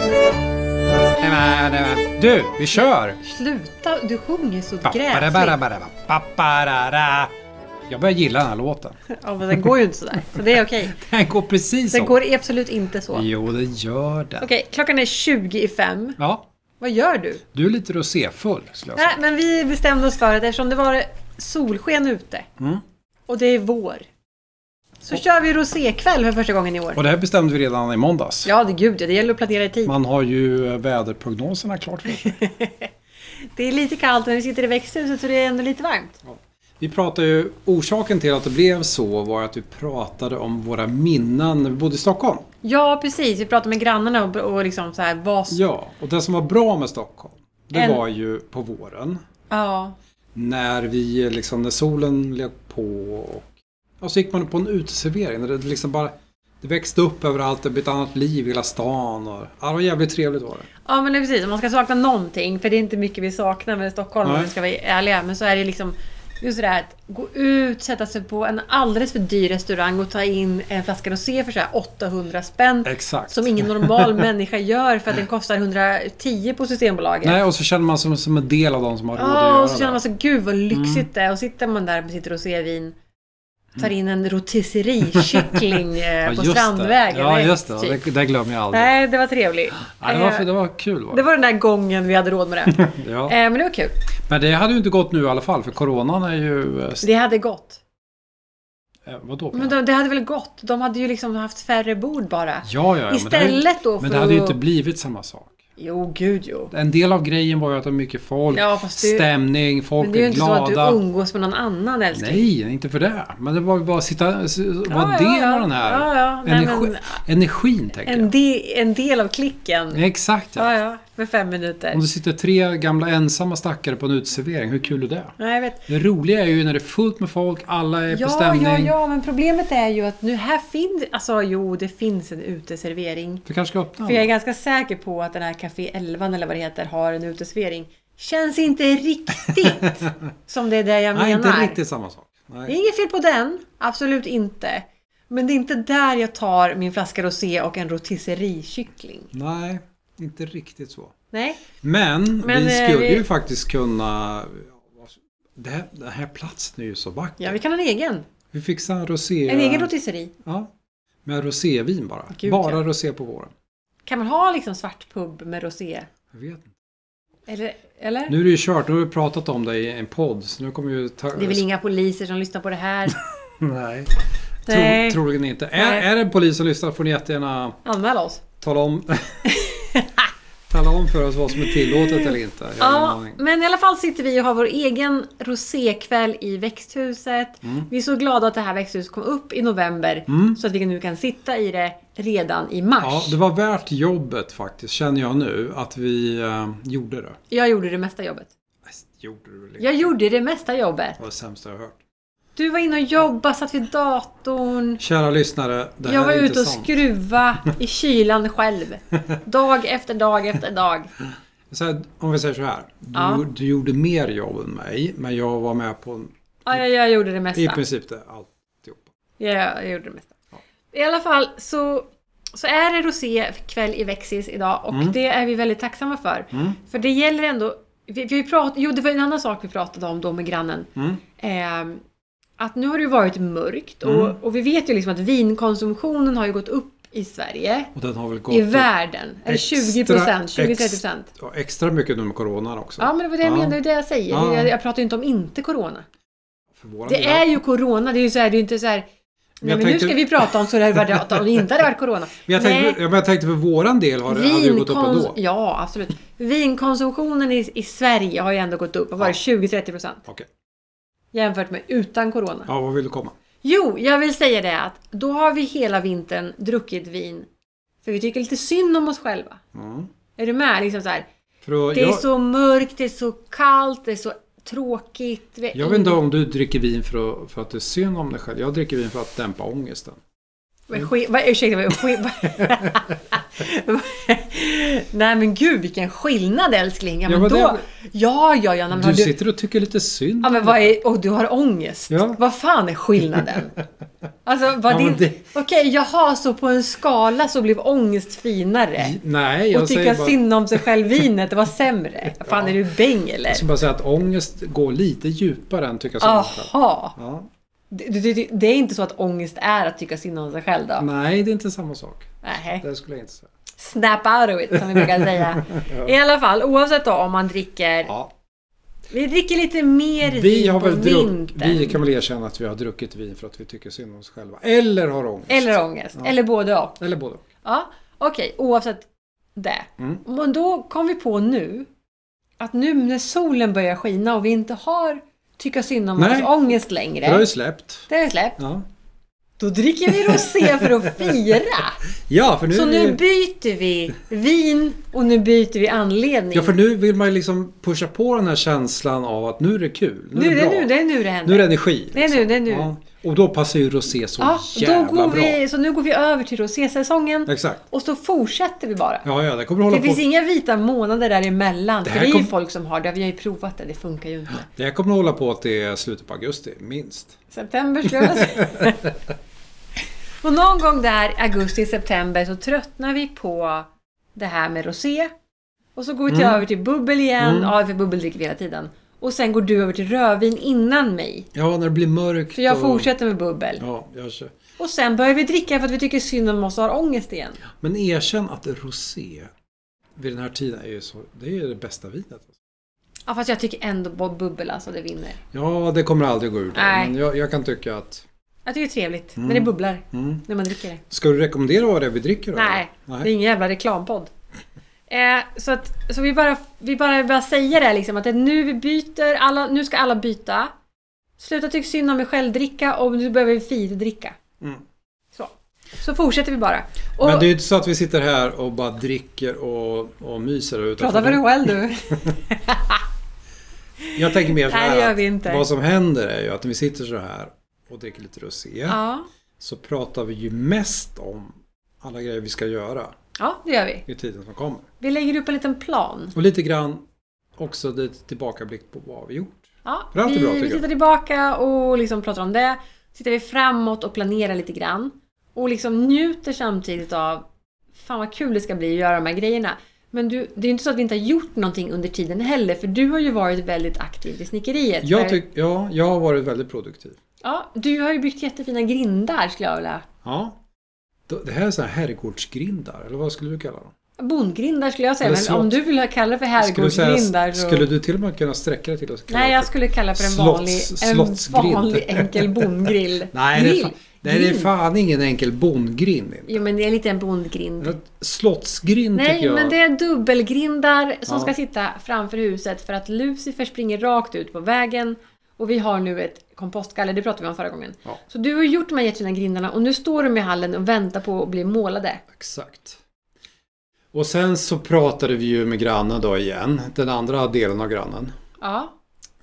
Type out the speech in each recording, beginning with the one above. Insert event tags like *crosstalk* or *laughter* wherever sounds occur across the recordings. Nej, nej, nej, nej. Du, vi kör! Sluta, du sjunger så gräsligt. Papparabarabaraba, papparara. Jag börjar gilla den här låten. *laughs* Ja, men den går ju inte sådär. Så det är okej. Den går precis Den så. går absolut inte så. Okej, Jo, det gör den. klockan är 20 i fem. Ja, Vad gör du? du är lite roséfull, skulle jag säga. Nej, men vi bestämde oss för att eftersom det var solsken ute Mm. och det är vår. Så kör vi rosékväll för första gången i år. Och det här bestämde vi redan i måndags. Ja, det gud ja, det gäller att planera i tid. Man har ju eh, väderprognoserna klart för sig. Det är lite kallt men vi sitter i växthuset så det är ändå lite varmt. Vi pratade ju, orsaken till att det blev så var att vi pratade om våra minnen när vi bodde i Stockholm. Ja, precis. Vi pratar med grannarna och, och liksom så här vad... Ja. Ja, och det som var bra med Stockholm, det En- var ju på våren. ja. När vi eh, liksom, när solen låg på och, och så gick man på en uteservering. Där det liksom bara, det växte upp överallt, det blev ett annat liv i hela stan. Och, ja, det var jävligt trevligt var det. men det är precis. Om man ska sakna någonting, för det är inte mycket vi saknar med Stockholm om Nej. vi ska vara ärliga. Men så är det liksom just det där att gå ut, sätta sig på en alldeles för dyr restaurang och ta in en flaska rosé för så här 800 spänn. Exakt. Som ingen normal människa gör för att den kostar 110 på Systembolaget. Nej, och så känner man sig som, som en del av de som har råd att Ja, göra Ah, och så känner man det. Mm. så gud vad lyxigt det är. Och sitter man där med sitt rosévin. Tar in *laughs* en rotisserie-kyckling eh, på just det. Strandvägen. Ja, Nej, just det. typ. Det, det glömmer jag aldrig. Nej, det var trevligt. Ja, det, var, Eh, det var kul var det det. var den där gången vi hade råd med *laughs* det. Ja. Eh, Men det var kul. Men det hade ju inte gått nu i alla fall, för coronan är ju... eh, St- Det hade gått. eh, vadå? Men de, det hade väl gått. De hade ju liksom haft färre bord bara. ja, ja, ja, men det, hade- Istället då för men det hade ju att- inte blivit samma sak. Jo, gud jo. En del av grejen var ju att det var mycket folk, Ja, fast det- stämning, folk Men det är ju blev inte glada. så att du umgås med någon annan älskling. Nej, inte för det. Men det var ju bara att sitta, s- vara ja, del ja. av den här Ja, ja. Nej, energi, men- energin, tänker En, jag. de, en del av klicken. Ja, Exakt, ja. Ja, ja. För fem minuter. Om det sitter tre gamla ensamma stackare på en uteservering, hur kul är det? Nej, jag vet. Det roliga är ju när det är fullt med folk, alla är Ja, på stämning. ja, ja, men problemet är ju att nu här finns... Alltså jo, det finns en uteservering. Du kanske ska öppna För jag den? är ganska säker på att den här Café 11 eller vad det heter har en uteservering. Känns *laughs* inte riktigt som det är det jag Nej, menar. inte riktigt samma sak. Det Nej. är inget fel på den. Absolut inte. Men det är inte där jag tar min flaska rosé och en rotisseriekyckling. Nej, inte riktigt så. Nej. Men, Men, vi eh, skulle vi- ju faktiskt kunna... Det här, den här platsen är ju så vacker. Ja, vi kan ha en egen. Vi fixar en rosé... En egen rotisserie. Ja. Med rosévin bara. Gud, bara ja. rosé på våren. Kan man ha liksom svart pub med rosé? Jag vet inte. Eller? eller? Nu är det ju kört, nu har vi pratat om det i en podd. Så nu kommer ju... Ta... Det är väl inga poliser som lyssnar på det här? *laughs* Nej. Nej. Tro, troligen inte. Nej. Är, är det en polis som lyssnar får ni jättegärna Anmäla oss. tala om... *laughs* tala om för oss vad som är tillåtet eller inte. Jag har ingen Ja, aning. men i alla fall sitter vi och har vår egen rosékväll i växthuset. Mm. Vi är så glada att det här växthuset kom upp i november. Så att vi nu kan sitta i det redan i mars. Ja, det var värt jobbet faktiskt, känner jag nu, att vi eh, gjorde det. Jag gjorde det mesta jobbet. Nej, Gjorde du väl inte? Jag gjorde det mesta jobbet. Det var det sämsta jag hört. Du var inne och jobbade, satt vid datorn. Kära lyssnare, det jag här var är ute inte och sant. *laughs* skruva i kylan själv. Dag efter dag efter dag. Så här, om vi säger så här. Du, Ja. du gjorde mer jobb än mig, men jag var med på Ja, jag, jag gjorde det mesta. i princip det alltihopa. Ja, jag gjorde det mesta. I alla fall så, så är det rosékväll i Växis idag och Mm. det är vi väldigt tacksamma för. För det gäller ändå... Vi, vi prat, jo, det var en annan sak vi pratade om då med grannen. Mm. Ehm, att nu har det ju varit mörkt Mm. och, och vi vet ju liksom att vinkonsumtionen har ju gått upp i Sverige. Och den har väl gått I upp världen. Är det 20 procent? 20-30 procent? ex- ja, Extra mycket nu med coronan också. Ja, men det var det jag Ja. menade, det är det jag säger. Ja. Jag, jag pratar ju inte om inte corona. För våra Det delar. är ju corona, det är ju så här, det är ju inte så här... Nej, jag men tänkte- nu ska vi prata om så det hade varit om det inte hade varit *laughs* corona. men jag, Nej, tänkte, ja, men jag tänkte för våran del har det hade ju gått upp vinkons- ändå. Ja, absolut. Vinkonsumtionen i, i Sverige har ju ändå gått upp och varit 20-30 procent Okej, jämfört med utan corona. ja, vad vill du komma? Jo, jag vill säga det att då har vi hela vintern druckit vin för vi tycker lite synd om oss själva. Mm. Är du med? Liksom så här, För att, det är jag, så mörkt, det är så kallt, det är så tråkigt. Vi- jag vet inte om du dricker vin för att, för att det är synd om dig själv. Jag dricker vin för att dämpa ångesten. Vad är skit? Vad, ursäkta, vad är skit? *laughs* Nej men gud vilken skillnad älskling. Ja, Ja, men men då, det- ja, ja, ja. nej, Men har Du du, sitter och tycker lite synd. ja, men vad är, och du har ångest. Ja. Vad fan *laughs* är skillnaden? Alltså, vad Ja, men din... det- Okej, jaha, så på en skala så blev ångest finare. Nej, jag Och tycka säger bara, synd om sig själv vinet, det *laughs* var sämre. Fan, är du bäng eller? jag ska bara säga att ångest går lite djupare än tycka synd om sig själv. Aha. Ja. Det, det, det- det är inte så att ångest är att tycka synd om sig själv då? Nej, det är inte samma sak. Nej. Det skulle jag inte säga. Snap out of it som vi *laughs* brukar säga. I alla fall, oavsett då om man dricker. Ja. Vi dricker lite mer Vi, vin har på väl druck, vintern. vi kan väl erkänna att vi har druckit vin för att vi tycker synd om oss själva. Eller har ångest. Eller ångest. Eller både och. Eller både. Ja, okej, oavsett det. Mm. Men då kom vi på nu att nu när solen börjar skina och vi inte har tycka synd om oss Nej. ångest Det har längre. ju släppt. Det har vi släppt. Ja. Då dricker vi rosé för att fira. ja, för nu... Så nu byter vi vin och nu byter vi anledning. Ja, för nu vill man ju liksom pusha på den här känslan av att nu är det kul. Nu, nu, är det det är bra. nu, det är nu det händer. Nu är det energi. liksom. Det är nu, det är nu. Ja. Och då passar ju rosé så Ja, jävla då går bra. vi, så nu går vi över till rosésäsongen Exakt. och så fortsätter vi bara. Ja, ja, det kommer hålla Det på. finns inga vita månader däremellan. Det För här det är ju kom- folk som har det. Vi har ju provat det. Det funkar ju inte. Det här kommer hålla på till slutet på augusti, minst. September skulle jag säga. *laughs* Och någon gång där, augusti, september, så tröttnar vi på det här med rosé. Och så går vi till Mm. över till bubbel igen. Ja, för bubbel dricker vi hela tiden. Och sen går du över till rödvin innan mig. Ja, när det blir mörkt. För jag och- fortsätter med bubbel. Ja, jag kör. Och sen börjar vi dricka för att vi tycker synd om oss och har ångest igen. Men erkänn att rosé vid den här tiden är ju så, det är ju det bästa vinet. alltså. Ja, fast jag tycker ändå Bob Bubbel alltså, det vinner. Ja, det kommer aldrig gå ur det. Nej. Men jag, jag kan tycka att... Jag tycker det är trevligt, men det bubblar Mm. när man dricker det. Ska du rekommendera vad det är vi dricker? då, Nej, eller? det är ingen jävla reklampodd. Eh, så att, så vi bara, vi bara, bara säger det här liksom att det är nu vi byter, alla, nu ska alla byta. Sluta tycka synd om mig själv dricka och nu behöver vi fidricka. Mm. Så. Så fortsätter vi bara. Och Men det är ju inte så att vi sitter här och bara dricker och, och myser. Utan prata för dig *laughs* själv du. Jag tänker mer så Nej, här det gör att vi inte. Vad som händer är ju att när vi sitter så här och dricker lite rosé ja. så pratar vi ju mest om alla grejer vi ska göra ja, det gör vi. i tiden som kommer. Vi lägger upp en liten plan. Och lite grann också lite tillbakablick på vad vi gjort. Ja, Det är alltid vi, bra, tycker vi jag. tittar tillbaka och liksom pratar om det. Tittar vi framåt och planerar lite grann. Och liksom njuter samtidigt av Fan vad kul det ska bli att göra de här grejerna. Men du, det är ju inte så att vi inte har gjort någonting under tiden heller. För du har ju varit väldigt aktiv i snickeriet. Jag, För- tyck, ja, jag har varit väldigt produktiv. ja, du har ju byggt jättefina grindar skulle jag vilja. Ja. Då- Det här är så här herrgårdsgrindar, eller vad skulle du kalla dem? Bondgrindar skulle jag säga. Eller Men slott. om du vill kalla det för Skulle du, säga, herrgårdsgrindar så... skulle du till och med kunna sträcka dig till att kalla Nej, det jag för- skulle kalla det för en Slotts- vanlig, en slottsgrind. vanlig enkel bondgrill. *laughs* Nej, det är, fan, Grill. nej, det är Grind. fan ingen enkel bondgrind. inte. Jo, men det är lite en bondgrind. Slottsgrind tycker Nej, jag. men det är dubbelgrindar som Ja. ska sitta framför huset för att Lucifer springer rakt ut på vägen. Och vi har nu ett kompostgaller, det pratade vi om förra gången. Ja. Så du har gjort de här jättefina grindarna och nu står de i hallen och väntar på att bli målade. Exakt. Och sen så pratade vi ju med grannen då igen. Den andra delen av grannen. Ja,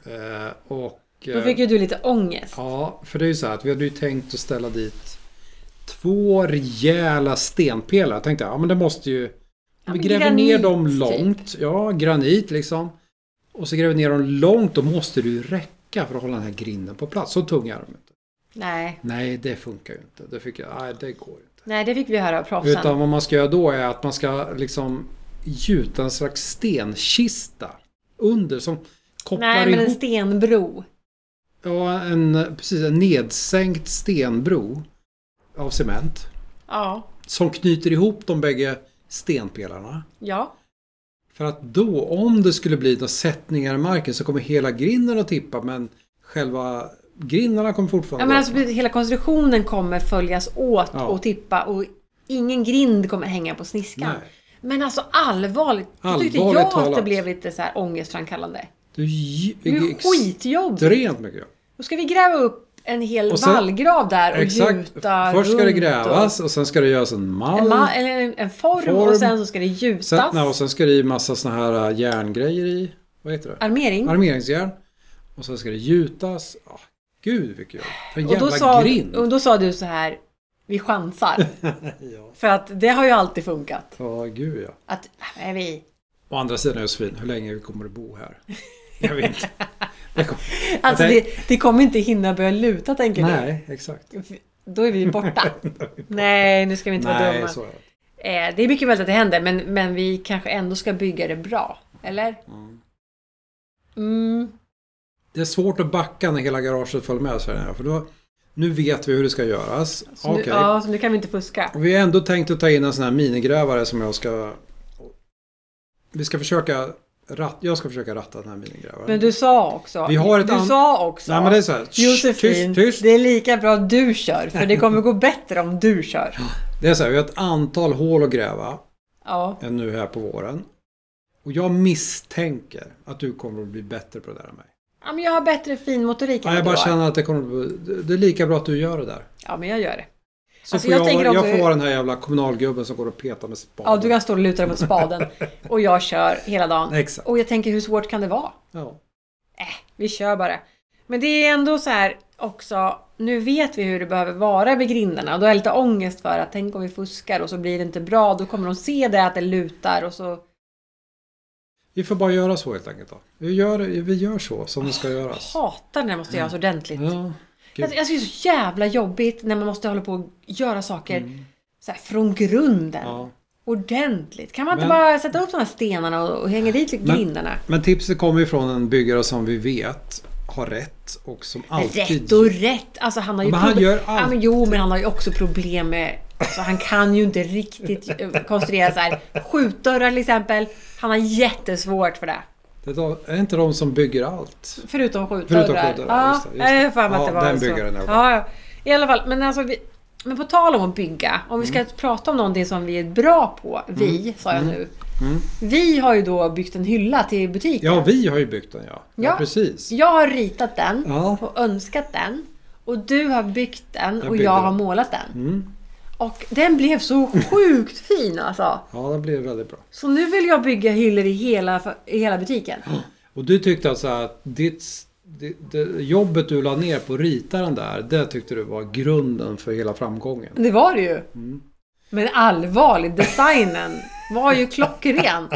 Eh, och... då eh, fick ju du lite ångest. Ja, för det är ju så här att vi hade ju tänkt att ställa dit två rejäla stenpelare. Jag tänkte, ja men det måste ju... Ja, vi men gräver granit, ner dem typ. långt. Ja, granit liksom. Och så gräver vi ner dem långt. Då måste det ju räcka för att hålla den här grinden på plats. Så tunga är de inte. Nej, Nej, det funkar ju inte. Det fick jag, nej, det går inte. nej det fick vi höra av proffsen. Utan vad man ska göra då är att man ska liksom gjuta en slags stenkista under som kopplar Nej, men en ihop stenbro. ja, en, precis, en nedsänkt stenbro av cement Ja. som knyter ihop de bägge stenpelarna. Ja. För att då, om det skulle bli några sättningar i marken så kommer hela grinden att tippa men själva grindarna kommer ja fortfarande men vara alltså, hela konstruktionen kommer följas åt Ja. och tippa och ingen grind kommer hänga på sniskan. Nej. Men alltså allvarligt. Då tyckte Allvarligt jag att det talat. blev lite så här ångestframkallande. Det är ju Det är ju skitjobb. extremt mycket jobb. Då ska vi gräva upp en hel Och sen- vallgrav där och Exakt. gjuta Först ska det runt och- grävas och sen ska det göras en En, mall. ma- eller en, en form, Form. och sen så ska det gjutas. Sen, nej, och sen ska det ju massa såna här äh, järngrejer i. Vad heter det? Armering. Armeringsjärn. Och sen ska det gjutas. Ah, gud vilket jobb. För en och, då jävla sa, grind. och då sa du så här. Vi chansar. *laughs* ja. För att det har ju alltid funkat. Ja, gud ja. Att, nej, vi... Å andra sidan Josefin, hur länge kommer du bo här? Jag vet inte. Det kom- Alltså Jag tänk- det, det kommer inte hinna börja luta tänker du. Nej, exakt. Då är *laughs* vi borta. nej, nu ska vi inte vara Nej, dumma. så är det. Eh, det är mycket möjligt att det händer, men, men vi kanske ändå ska bygga det bra. Eller? Mm. Mm. Det är svårt att backa när hela garaget följer med så här, för då, Nu vet vi hur det ska göras. Så Okej. nu, ja, så nu kan vi inte fuska. Och Vi har ändå tänkt att ta in en sån här minigrävare som jag ska... Vi ska försöka... Rat... Jag ska försöka ratta den här minigrävaren. Men du sa också. Vi har ett du an- sa också. Nej men det är så här... shh, Tyst, Josefin, tyst. det är lika bra att du kör. *laughs* För det kommer gå bättre om du kör. Det är så här, vi har ett antal hål att gräva Ja. eh, nu här på våren. Och jag misstänker att du kommer att bli bättre på det där än mig. ja men jag har bättre fin motorik än Ja, jag vad bara du har. känner att det kommer att... bli- Det är lika bra att du gör det där. Ja, men jag gör det. Så Alltså, får jag jag, tänker jag, också- får vara den här jävla kommunalgubben som går och petar med spaden. Ja, du kan stå och luta dig *laughs* mot spaden. Och jag kör hela dagen. Exakt. Och jag tänker, hur svårt kan det vara? Ja. Vi kör bara. Men det är ändå så här också, nu vet vi hur det behöver vara vid grindarna och då har jag lite ångest för att tänk om vi fuskar och så blir det inte bra. Då kommer de se det att det lutar och så... Vi får bara göra så helt enkelt då. Vi gör, vi gör så som det ska göras. Hatar när det måste Mm. göras ordentligt. Ja. Jag jag tycker det är så jävla jobbigt när man måste hålla på och göra saker så här, från grunden. Mm. ja. Ordentligt. Kan man inte Men- bara sätta upp de här stenarna och, och hänga dit Men- grindarna? Men tipset kommer ju från en byggare som vi vet har rätt och som alltid... Rätt och rätt. Alltså han har ju Men han proble- gör ja, men allt. Jo, men han har ju också problem med... Alltså, han kan ju inte riktigt eh, konstruera så här. Skjutdörrar till exempel. Han har jättesvårt för det. Det är de- är inte de som bygger allt? Förutom skjutdörrar. skjutdörrar, ja, just det, just det. Jag har för mig Ja, att det var den så. byggaren i alla ja, ja. I alla fall, men alltså... Vi, men på tal om att bygga, om vi ska prata om någonting som vi är bra på, vi, sa jag nu. Mm. Mm. Vi har ju då byggt en hylla till butiken. Ja, vi har ju byggt den ja. Ja, Ja. precis. Jag har ritat den Ja. och önskat den. Och du har byggt den Jag och byggde jag har den. målat den. Mm. Och den blev så sjukt fin alltså. Ja, den blev väldigt bra. Så nu vill jag bygga hyllor i hela, i *gasps* hela butiken. Och du tyckte alltså att ditt, det, det, jobbet du la ner på att rita den där, det tyckte du var grunden för hela framgången? Det var det ju. Mm. Men allvarligt, designen var ju klockren.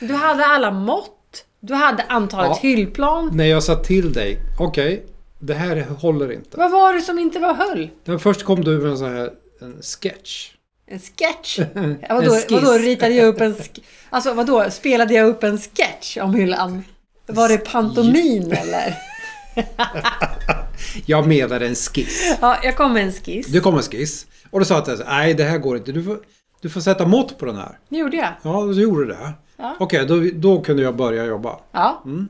Du hade alla mått. Du hade antalet Ja. hyllplan. När jag sa till dig, okej, det här håller inte. Vad var det som inte var höll? Men först kom du med en sån här en sketch. En sketch? Ja, *laughs* En vadå, skiss. vadå ritade jag upp en... Sk- alltså vadå, spelade jag upp en sketch om hyllan? Var det pantomin eller? *laughs* Jag menade en skiss. Ja, jag kom med en skiss. Du kom med en skiss. Och du sa att det är så, nej det här går inte. Du får, du får sätta mått på den här. Det gjorde jag. Ja, så gjorde du det. Ja. Okej, då, då kunde jag börja jobba. Ja. Mm.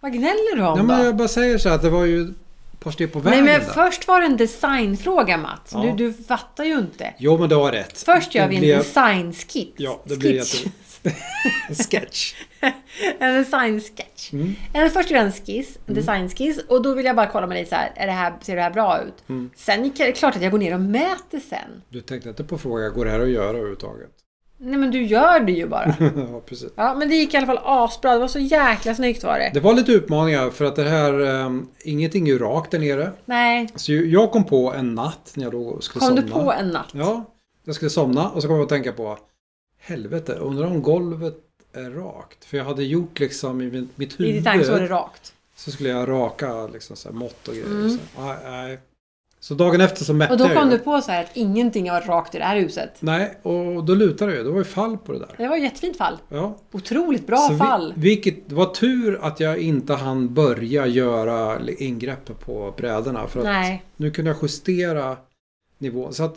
Vad gnäller du om Ja, då? men jag bara säger så här att det var ju ett par steg på Nej vägen där. men först var det en designfråga Mats. Ja. Du, du fattar ju inte. Jo, men du har rätt. Först gör Det vi en blev- designskit. Ja, det blir skitch. jätte... en sketch. *laughs* En designsketch. Mm. Eller Först gör jag en skiss, en designskiss. Och då vill jag bara kolla med dig så här, är det här, ser det här bra ut? Mm. Sen är det klart att jag går ner och mäter sen. Du tänkte inte på frågan, går det här att göra överhuvudtaget? *laughs* Nej men du gör det ju bara. ja, precis. Ja, men det gick i alla fall asbra. Det var så jäkla snyggt var det. Det var lite utmaningar för att det här, eh, ingenting är ju rakt där nere. Nej. Så ju- jag kom på en natt när jag då skulle Kom somna. du på en natt? Ja, jag skulle somna och så kom jag att tänka på Helvete, undrar om golvet är rakt? För jag hade gjort liksom i min- mitt I huvud ditt tanke så var det rakt. så skulle jag raka liksom så här mått och grejer. Så, nej, nej. så dagen efter så mätte Mm. Och då jag kom ju. du på så här att ingenting var rakt i det här huset. Nej, och då lutade jag ju. Det var ju fall på det där. Det var ett jättefint fall. Ja. Otroligt bra Så vi- fall. vilket, det var tur att jag inte hann börja göra li- ingrepp på brädorna. För att Nej. nu kunde jag justera nivån. Så att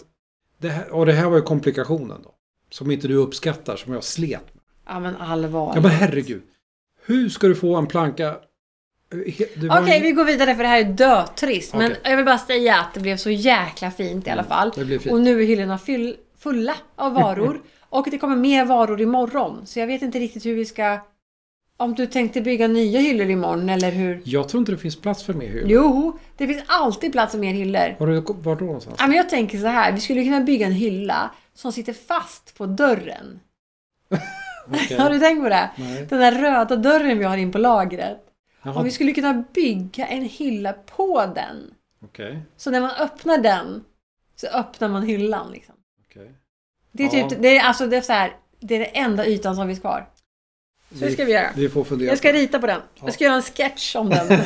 det här, och det här var ju komplikationen då. Som inte du uppskattar, som jag slet med. Ja men allvar. Ja men herregud. Hur ska du få en planka... Det var Okej, vi går vidare för det här är dötrist. Men Okej. Mm, jag vill bara säga att det blev så jäkla fint i alla fall. det blev fint. Och nu är hyllorna fyll, fulla *laughs* av varor. och det kommer mer varor imorgon. Så jag vet inte riktigt hur vi ska... Om du tänkte bygga nya hyllor imorgon eller hur? Jag tror inte det finns plats för mer hyllor. Jo, det finns alltid plats för mer hyllor. Har du varit då någonstans? Ja, men jag tänker så här, vi skulle kunna bygga en hylla som sitter fast på dörren. Okej. Ah, Har du tänkt på det? Nej. Den där röda dörren vi har in på lagret. Om Jaha, vi skulle kunna bygga en hylla på den. okej. Så när man öppnar den Så öppnar man hyllan liksom. Okej. Det är Ja. typ, det är alltså det är så här, det är den enda ytan som finns kvar. Så det ska vi göra. Vi får fundera. Jag ska rita på den. Ja. Jag ska göra en sketch *laughs* om den.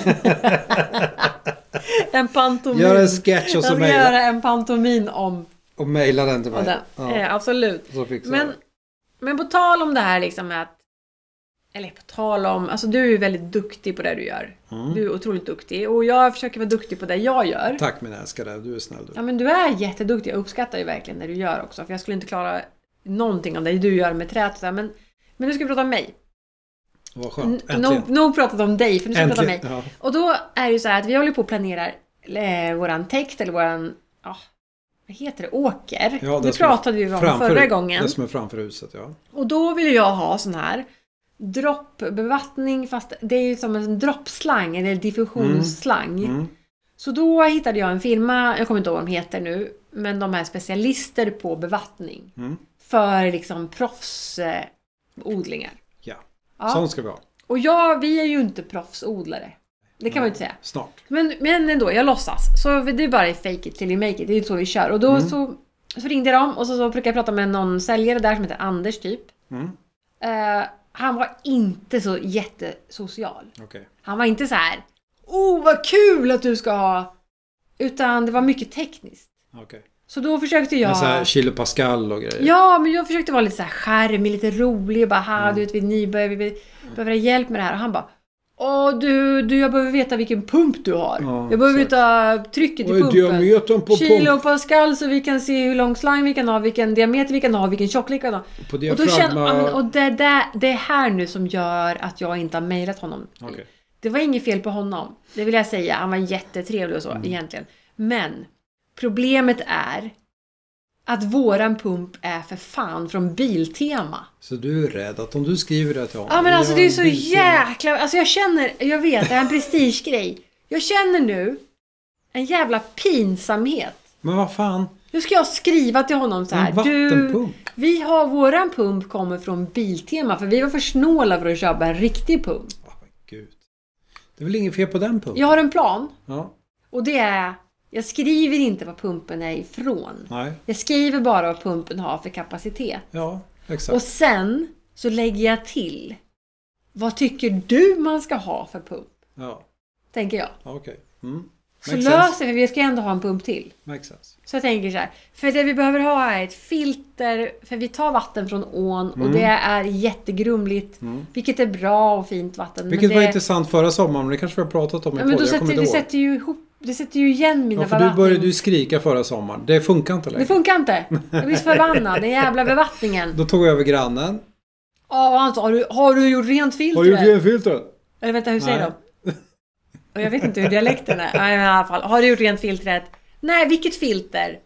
en pantomim. Gör en sketch och Jag så ska mejla, göra en pantomin om, och mejla den till om mig. den. Ja, Eh, absolut. så fixar Men, jag. men på tal om det här liksom med att... Eller på tal om... Alltså du är ju väldigt duktig på det du gör. Mm. Du är otroligt duktig. Och jag försöker vara duktig på det jag gör. Tack min älskade, du är snäll du. Ja men du är jätteduktig. Jag uppskattar ju verkligen det du gör också. För jag skulle inte klara någonting av det du gör med träet. och så här, Men, men nu ska vi prata om mig. Vad skönt. N- Äntligen. Nog, nog pratat om dig, för nu ska vi prata om mig. Äntligen. Ja. Och då är det ju så här att vi håller på och planerar eh, våran täkt eller våran... Ja, vad heter det? Åker. Ja, det det som är pratade vi om förra gången. Det som är framför huset ja. Och då vill jag ha sån här droppbevattning fast det är ju som en droppslang eller diffusionsslang. Mm. Så då hittade jag en firma, jag kommer inte ihåg vad de heter nu, men de är specialister på bevattning. Mm. För liksom proffsodlingar. Eh, odlingar. Ja. Ja. Sånt ska vi ha. Och jag, vi är ju inte proffsodlare. Det kan man ju inte säga. Mm. Snart. Men, men ändå, jag låtsas. Så det är bara fake it till you make it. Det är ju så vi kör. Och Mm. då så, så ringde jag dem och så, så brukade jag prata med någon säljare där som heter Anders typ. Mm. Eh, han var inte så jättesocial. Okej. Han var inte så här. Oh, vad kul att du ska ha! Utan det var mycket tekniskt. Okej. Så då försökte Men jag... så här kilo pascal och grejer. Ja, men jag försökte vara lite så här charmig, lite rolig och bara ha, Mm. du vet, vi är nybörjare, vi be- behöver hjälp med det här. Och han bara Åh du, du, jag behöver veta vilken pump du har. Ja, jag behöver veta trycket i Och pumpen. diametern på Kilo pump. och pascal så vi kan se hur lång slang vi kan ha, vilken diameter vi kan ha, vilken tjocklek vi kan ha. På Och, då känner, ja, men, diafragma. och det, det, det är här nu som gör att jag inte har mejlat honom. Okej. Det var inget fel på honom. Det vill jag säga. Han var jättetrevlig och så egentligen. Men problemet är att våran pump är för fan från Biltema. Så du är rädd att om du skriver det till honom. Ja men vi alltså har det är en så bild till- jäkla... Alltså jag känner, jag vet, det *laughs* är en prestigegrej. Jag känner nu en jävla pinsamhet. Men vad fan. Nu ska jag skriva till honom så här. En Du, vattenpump. vi har våran pump kommer från Biltema för vi var för snåla för att köpa en riktig pump. Ah, men gud. Det är väl inget fel på den pumpen? Jag har en plan Ja. och det är... Jag skriver inte vad pumpen är ifrån. Nej. Jag skriver bara vad pumpen har för kapacitet. Ja. Exakt. Och sen så lägger jag till. Vad tycker du man ska ha för pump? Ja. Tänker jag. ja, Okej. Mm. Så Makes löser sense. vi, vi ska ändå ha en pump till. Makes sense. Så jag tänker så här. För det vi behöver ha är ett filter. För vi tar vatten från ån Mm. och det är jättegrumligt. Vilket är bra och fint vatten. Vilket men var det, intressant förra sommaren. men Det kanske vi har pratat om i ja, podden. men då Jag sätter, kommer det, inte ihåg. sätter ju ihop, det sätter ju igen mina Ja, för du började bevattningar. ju skrika förra sommaren. Det funkar inte längre. Det funkar inte. Jag blir så förbannad. Den jävla bevattningen. Då tog jag över grannen. *laughs* Ja, och han sa, har du, har du gjort rent filtret? Har du gjort genfiltret? Eller vänta, hur säger Nej. de? Och jag vet inte hur dialekten är. Nej, men i alla fall. Har du gjort rent filtret? Nej, vilket filter?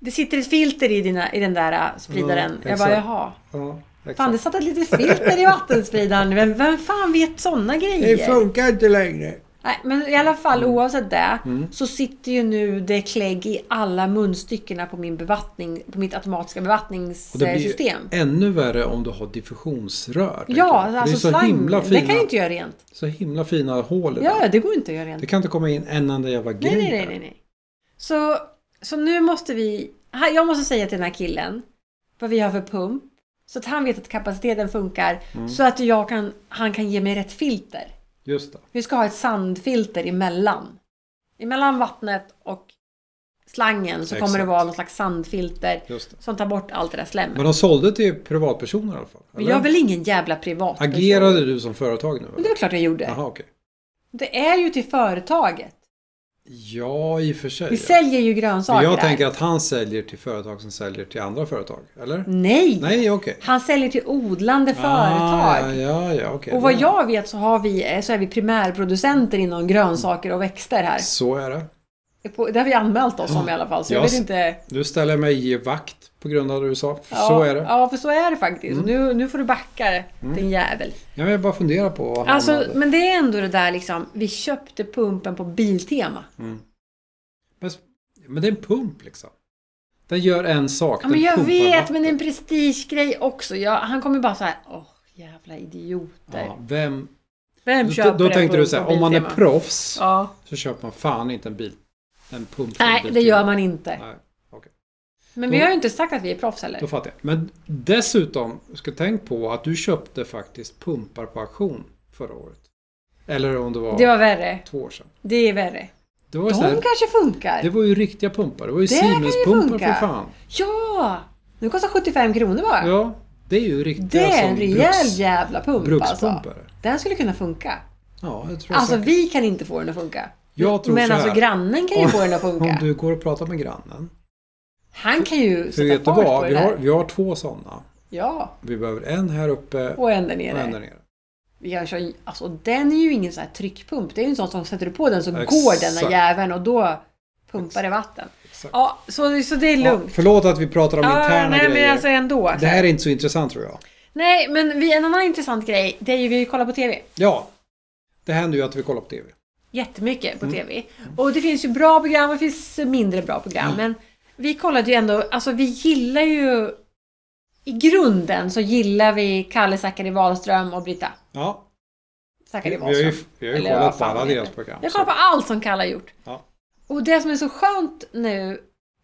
Det sitter ett filter i, dina, i den där äh, spridaren. Mm, jag bara, exakt. jaha. Ja, exakt. Fan, det satt ett litet filter i vattenspridaren. Vem, vem fan vet sådana det grejer? funkar inte längre. Nej, men i alla fall, Mm. oavsett det, så sitter ju nu det klägg i alla munstyckena på, min bevattning, på mitt automatiska Och det blir ju bevattningssystem. ännu värre om du har diffusionsrör. tänker jag. Ja, För alltså det är så slang. himla Det fina, kan ju inte göra rent. så himla fina hål i Ja, den. det går inte att göra rent. Det kan inte komma in en enda jävla grej Nej, nej, där. nej, nej, nej. Så, så nu måste vi... här- Jag måste säga till den här killen vad vi har för pump. Så att han vet att kapaciteten funkar. Mm. Så att jag kan, han kan ge mig rätt filter. Just det. Vi ska ha ett sandfilter emellan. Emellan vattnet och slangen så kommer det Exakt. vara någon slags sandfilter. Just det. Som tar bort allt det där slemmet. Men de sålde till privatpersoner i alla fall? Men eller? jag är väl ingen jävla privat Agerade du som företag nu? Men eller? det var klart jag gjorde. Jaha, okej. Det är ju till företaget. Ja, i och för sig. Vi ja. säljer ju Men grönsaker jag där. tänker att han säljer till företag som säljer till andra företag, eller? Nej! Nej, okej. Han säljer till odlande Ah, Mm. ja, företag. ja, ja, okej. Och vad Då- jag vet så, har vi, så är vi primärproducenter inom grönsaker och växter här. Så är det. På- Det har vi anmält oss om i alla fall. Så jag Ah, Ja, vet s- inte. Nu ställer jag mig i vakt på grund av det du sa. För Så är det. Mm. Ja, för så är det faktiskt. Nu, nu får du backa din jävel. Jag vill bara fundera på vad han Alltså, hade. men det är ändå det där liksom. Vi köpte pumpen på Biltema. Men, men det är en pump liksom. Den gör en sak. Ja, men den jag pumpar vet, vatten. men det är en prestigegrej också. Jag, han kommer bara så här. Åh, jävla idioter. Ja, vem... Vem Då, köper då en tänkte pump du så här, på om man är Biltema? proffs Ja. så köper man fan inte en bil. En pump. från Nej, det Biltema. gör man inte. Nej, okej. Men vi har ju inte sagt att vi är proffs heller. Då fattar jag. Men dessutom, ska tänk på att du köpte faktiskt pumpar på auktion förra året. Eller om det var, Det var värre. två år sedan. Det är värre. Det var, ju De så här, kanske funkar. det var ju riktiga pumpar. Det var ju Det kan ju Siemens-pumpar funka. för fan. Ja! Nu kostar 75 kronor bara. Ja, det är ju riktiga det är en som rejäl bruks- jävla pump alltså. brukspumpare. Den skulle kunna funka. Ja, jag tror Alltså säkert. vi kan inte få den att funka. Jag tror Men så här. alltså grannen kan ju Om- få den att funka. Om du går och pratar med grannen. Han kan ju För sätta vet du fart på vad? Vi det har, där. vi har två sådana. Ja, Vi behöver en här uppe och och en där en där nere. nere. Vi kan köra, alltså den är ju ingen sån här tryckpump. Det är ju en sån som sätter du på den så Exakt. går den där jäveln och då pumpar det vatten. Exakt. Ja, så, så det är lugnt. Ja, förlåt att vi pratar om interna nej, grejer. men alltså ändå. Det här är inte så intressant tror jag. Nej, men vi, en annan intressant grej, det är ju vi kollar på TV. Ja, det händer ju att vi kollar på TV. Jättemycket på Mm. TV. Och det finns ju bra program och det finns mindre bra Mm. program. Men vi kollade ju ändå, alltså vi gillar ju... I grunden så gillar vi Kalle Zackari Wahlström och Brita Ja, vi, Zackari vi har ju, Wahlström. vi har ju Eller kollat vad på fan alla det heter. deras program. Jag kollar på så- allt som Kalle har gjort. Ja. Och det som är så skönt nu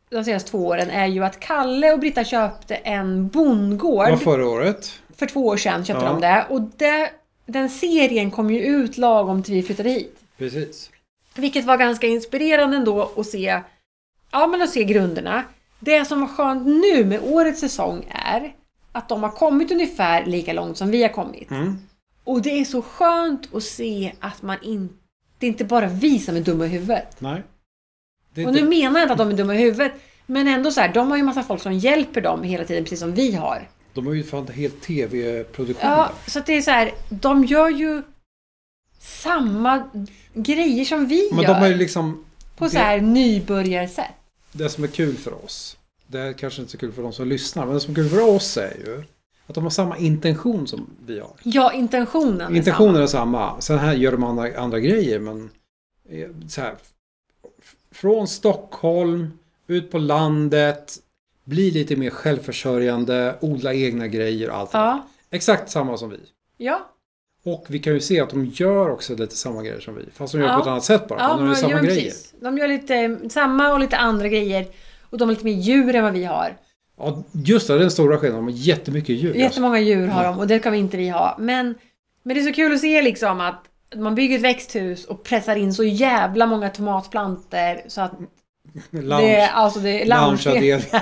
de senaste två åren är ju att Kalle och Brita köpte en Det var bondgård. förra året. För två år sedan köpte Ja. de det. Och det, den serien kom ju ut lagom till vi flyttade hit. Precis. Vilket var ganska inspirerande ändå att se, ja, men att se grunderna. Det som var skönt nu med årets säsong är att de har kommit ungefär lika långt som vi har kommit. Mm. Och det är så skönt att se att man inte... Det är inte bara vi som är dumma i huvudet. Nej. Det är Och nu inte... menar jag inte att de är dumma i huvudet. Men ändå så här, de har ju massa folk som hjälper dem hela tiden, precis som vi har. De har ju fan helt TV-produktion. Ja, där. så att det är så här, de gör ju samma grejer som vi Men gör. de har ju liksom... På så det- här nybörjarsätt. det som är kul för oss, det är kanske inte så kul för de som lyssnar, men det som är kul för oss är ju att de har samma intention som vi har. Ja, intentionen. Intentionen är samma. Sen här gör de andra, andra grejer, men eh, så här, f- från Stockholm, ut på landet, bli lite mer självförsörjande, odla egna grejer och allt är det samma. Ja, där. Exakt samma som vi. ja. Och vi kan ju se att de gör också lite samma grejer som vi, fast de gör Ja. på ett annat sätt bara. ja men de gör samma ja, men grejer. precis. De gör lite samma och lite andra grejer. Och de har lite mer djur än vad vi har. Ja, just det, det är den stora skillnaden. De har jättemycket djur. Jättemånga djur har de och det kan vi inte vi ha. Men, men det är så kul att se liksom att man bygger ett växthus och pressar in så jävla många tomatplanter så att det, Lounge, alltså det är lounge. loungeavdelning. *laughs*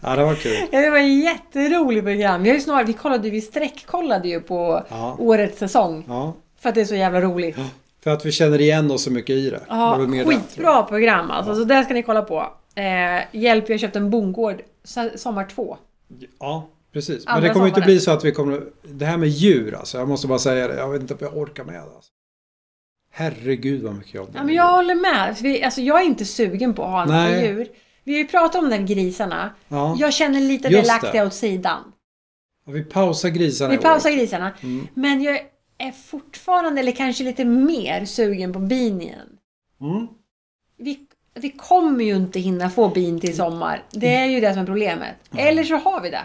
ja, det var kul. *laughs* Ja, det var ett jätteroligt program. Vi, har ju snarare, vi, kollade, vi sträckkollade ju på Ja. årets säsong. Ja, För att det är så jävla roligt. för att vi känner igen oss så mycket i det. Det Ja, var väl mer det, tror jag. skitbra program alltså. Så det ska ni kolla på. Eh, hjälp, jag köpte en bondgård so- sommar två. Ja, precis. Men Andra det kommer ju inte sommaren. bli så att vi kommer... Det här med djur alltså. Jag måste bara säga det. Jag vet inte om jag orkar med det. Alltså. Herregud vad mycket jobb det Ja, är. men jag håller med. För Vi, alltså, jag är inte sugen på att ha en massa Nej. djur. Vi har ju pratat om den med grisarna. Ja. Jag känner lite att jag Just lagt det. det åt sidan. Och Vi pausar grisarna Vi i år. pausar grisarna. Mm. Men jag är fortfarande, eller kanske lite mer, sugen på bin igen. Mm. Vi, vi kommer ju inte hinna få bin till sommar. Det är ju det som är problemet. Eller så har vi det.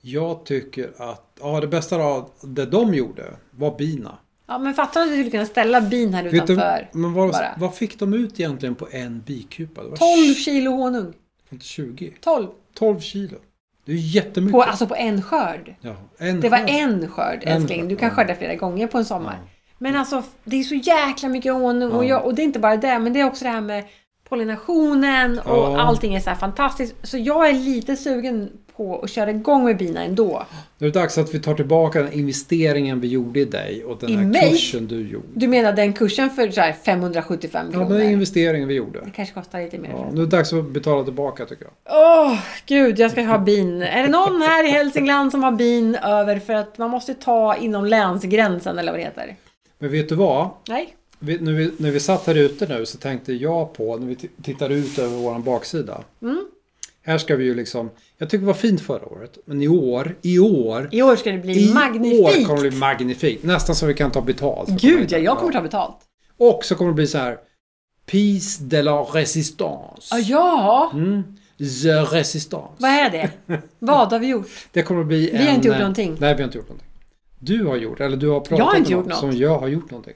Jag tycker att... Ja, det bästa av det de gjorde var bina. Ja, men fattar du att vi skulle kunna ställa bin här Vet du, utanför? men vad, bara. vad fick de ut egentligen på en bikupa? Det var 12 kilo honung. 20. 12. 12 kilo. Det är ju jättemycket. På, alltså på en skörd. ja, en Det var skörd. en skörd En älskling. skörd, Du kan ja. skörda flera gånger på en sommar. Ja. Men alltså det är så jäkla mycket honung. Och, Ja. jag, och det är inte bara det, men det är också det här med pollinationen och Ja. allting är så här fantastiskt. Så jag är lite sugen på att köra igång med bina ändå. Nu är det dags att vi tar tillbaka den investeringen vi gjorde i dig och den I här mig? kursen du gjorde. Du menar den kursen för så här 575 Ja, kronor? den investeringen vi gjorde. Det kanske kostar lite mer. Ja, Åh, nu är det dags att betala tillbaka tycker jag. gud, jag ska ha bin. Är det någon här i Hälsingland som har bin över för att man måste ta inom länsgränsen eller vad det heter? Men vet du vad? Nej? Vi, när, vi, när vi satt här ute nu så tänkte jag på, när vi t- tittar ut över vår baksida. Mm. Här ska vi ju liksom, jag tycker det var fint förra året, men i år, i år, I år ska det bli i år magnifikt. kommer det bli magnifikt. Nästan så vi kan ta betalt. för att komma Gud hit. ja, jag kommer ta betalt. Och så kommer det bli så här, Peace de la Résistance. Ja, ja. Mm. The Resistance. vad *laughs* är det? Vad har vi gjort? Det kommer att bli Vi har en, inte gjort eh, någonting. Nej, vi har inte gjort någonting. Du har gjort, eller du har pratat Jag har inte med gjort någon något. som jag har gjort någonting.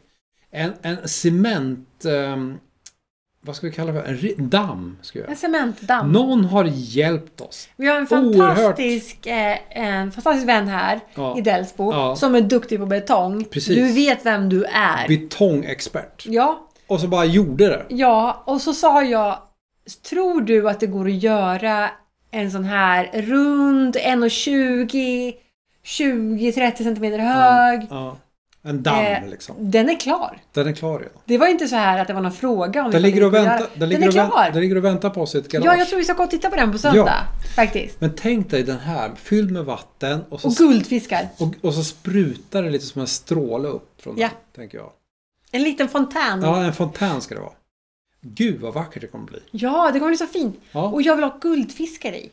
En, en cement... ehm, vad ska vi kalla det för? En ri- damm. Ska jag. En göra. cementdamm. Någon har hjälpt oss. Vi har en Oerhört. fantastisk, eh, en fantastisk vän här Ja. i Delsbo Ja. som är duktig på betong. Precis. Du vet vem du är. Betongexpert. ja, Och så bara gjorde det. ja, och så sa jag, tror du att det går att göra en sån här rund 1,20 20-30 cm hög. Ja. En damm Eh, liksom. Den är klar. Den är klar redan. Det var inte så här att det var någon fråga om Den ifall ligger, och vi kunde väntar, göra- den, Den ligger är och klar! vänt, den ligger och väntar på oss i ett garage. Ja, jag tror vi ska gå och titta på den på söndag. Faktiskt. Men tänk dig den här, fylld med vatten och så, Och guldfiskar. och, och så sprutar det lite som en stråle upp från Ja. den. Tänker jag. En liten fontän. Ja. Ja, en fontän ska det vara. Gud vad vackert det kommer bli. det kommer bli så fint. Ja, Och jag vill ha guldfiskar i.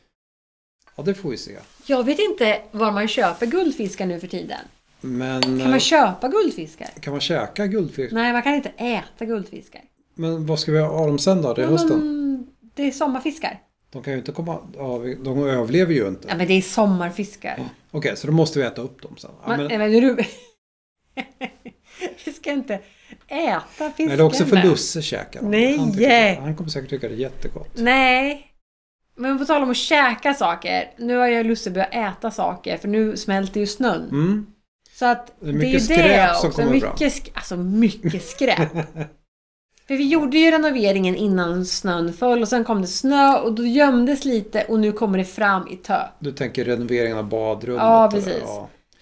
ja det får vi se. Jag vet inte var man köper guldfiskar nu för tiden. Men Kan man eh, köpa guldfiskar? kan man käka guldfisk? Nej, man kan inte äta guldfiskar. Men vad ska vi ha dem sen då? Det är hösten. Men det är sommarfiskar. De kan ju inte komma... Ja, vi- de överlever ju inte. Ja, men det är sommarfiskar. Okej, så då måste vi äta upp dem sen. Ja, Man, men- nej, men du... *laughs* Vi ska inte äta fisken. Nej, det är också för där. Lusse käkar dem. Nej. Han, tycker- han kommer säkert tycka det är jättegott. Nej. Men på tal om att käka saker. Nu har jag Lusse börjat äta saker för nu smälter ju snön. Mm. Så att Det är det, mycket är ju skräp det som också. kommer mycket fram. sk- alltså mycket *laughs* skräp. för vi gjorde ju renoveringen innan snön föll och sen kom det snö och då gömdes lite och nu kommer det fram i tö. Du tänker renoveringen av badrummet? Ja, och det, precis.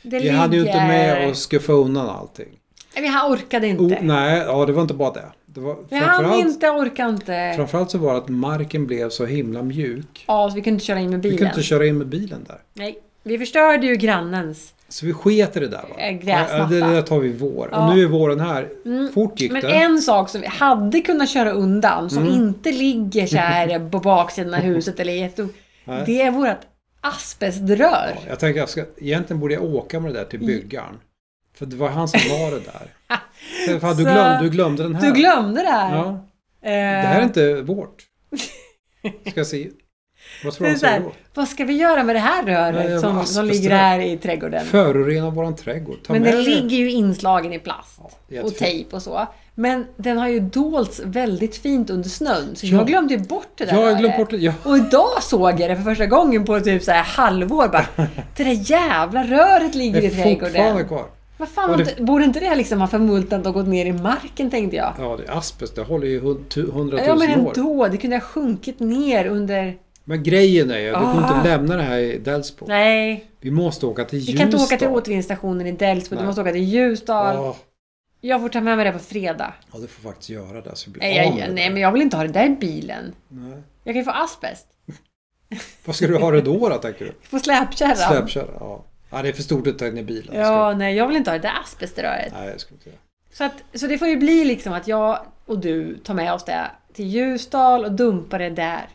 Det Vi hann ju inte med att skuffa undan allting. Nej, Vi han orkade inte. Oh, nej, ja, det var inte bara det. det var, vi hann framförallt, inte, orkade inte. framförallt så var det att marken blev så himla mjuk. Ja, så vi kunde inte köra in med Vi bilen. kunde inte köra in med bilen där. Nej, vi förstörde ju grannens. Så vi sket i det där. Va? Eh, gräsmatta. Ja, Det där tar vi i vår. Och Ja. Mm, nu är våren här. Fort gick Men det. Mm. en sak som vi hade kunnat köra undan, som inte ligger så här på baksidan av huset eller jätte... Nej. Det är vårt asbeströr. Ja, Jag tänkte jag ska, egentligen borde jag åka med det där till Mm. byggaren. För det var han som var det *laughs* där. Så, Fan, du, Så- glömde, du glömde den här. Du glömde det här. Ja, Eh, det här är inte *laughs* vårt. Ska jag se. Vad tror du det är han så säger här, då? vad ska vi göra med det här röret Nej, som, som asbeströr. ligger här i trädgården? Förorena våran trädgård. Ta Men med den dig. ligger ju inslagen i plast och jättefint. tejp och så. Men den har ju dolts väldigt fint under snön. Så Ja. jag glömde ju bort det där Ja, jag har glömt röret. bort det. Ja. Och idag såg jag det för första gången på typ så här *laughs* halvår. Bara, det där jävla röret Det ligger i är fortfarande trädgården. kvar. Vad fan, Och har det- inte- borde inte det här liksom ha förmultnat och gått ner i marken tänkte jag. Ja, det är asbest. Det håller ju hund- tu- Ja men hundratusen år. ändå, det kunde ha sjunkit ner under... Men grejen är ju, att vi kommer Ah. inte lämna det här i Delsbo. Nej, Vi måste åka till Ljusdal. vi kan inte åka till återvinningsstationen i Delsbo, du Nej. måste åka till Ljusdal. Ja, Jag får ta med mig det på fredag. Ja, du får faktiskt göra det. Så vi blir Nej, av jag, med det. nej, men jag vill inte ha det där i bilen. Nej. Jag kan ju få asbest. Vad ska du ha det då, då tänker du? *laughs* Jag får släpkärra. Släpkärra, ja. ja. Det är för stort att ta in i bilen. Det Ja, nej, jag vill inte ha det där asbeströret. Ska, nej, det ska vi inte göra. Så, att, så det får ju bli liksom att jag och du tar med oss det till Ljusdal och dumpar det där.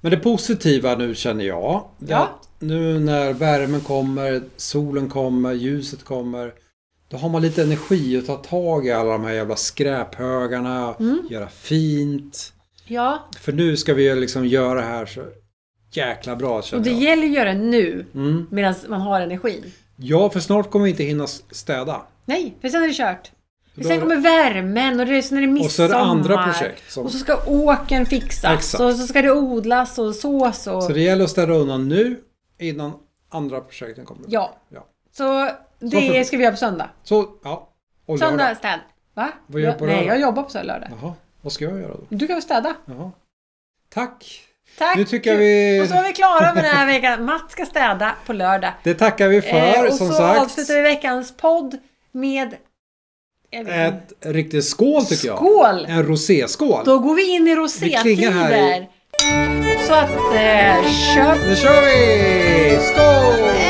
Men det positiva nu känner jag. det är Ja. att Nu när värmen kommer, solen kommer, ljuset kommer. Då har man lite energi att ta tag i alla de här jävla skräphögarna. Mm. Göra fint. Ja, För nu ska vi ju liksom göra det här så jäkla bra och det känner jag. gäller ju att göra det nu Mm. medan man har energin. Ja, för snart kommer vi inte hinna städa. Nej, för sen är det kört. För Då- sen kommer värmen och det, sen är det midsommar. Och så är det andra projekt. Som, Och så ska åkern fixas. Exakt. Och så ska det odlas och sås och... så det gäller att städa undan nu innan andra projekten kommer. Ja. ja. Så för- det ska vi göra på söndag. Så, ja. Och lördag. Söndag städ. Va? Vad gör du på jag, nej, lördag? jag jobbar på söndag lördag. Jaha, vad ska jag göra då? Du kan väl städa? Jaha. Tack! Tack! Nu tycker jag vi- Och så är vi klara med den här veckan. Mats ska städa på lördag. Det tackar vi för Eh, och som så sagt. avslutar vi veckans podd med... Jag vet inte. Ett riktigt skål tycker jag. Skål! En roséskål. Då går vi in i Vi klingar här i- rosétider. Så att... Eh, köp... Nu kör vi! Skål!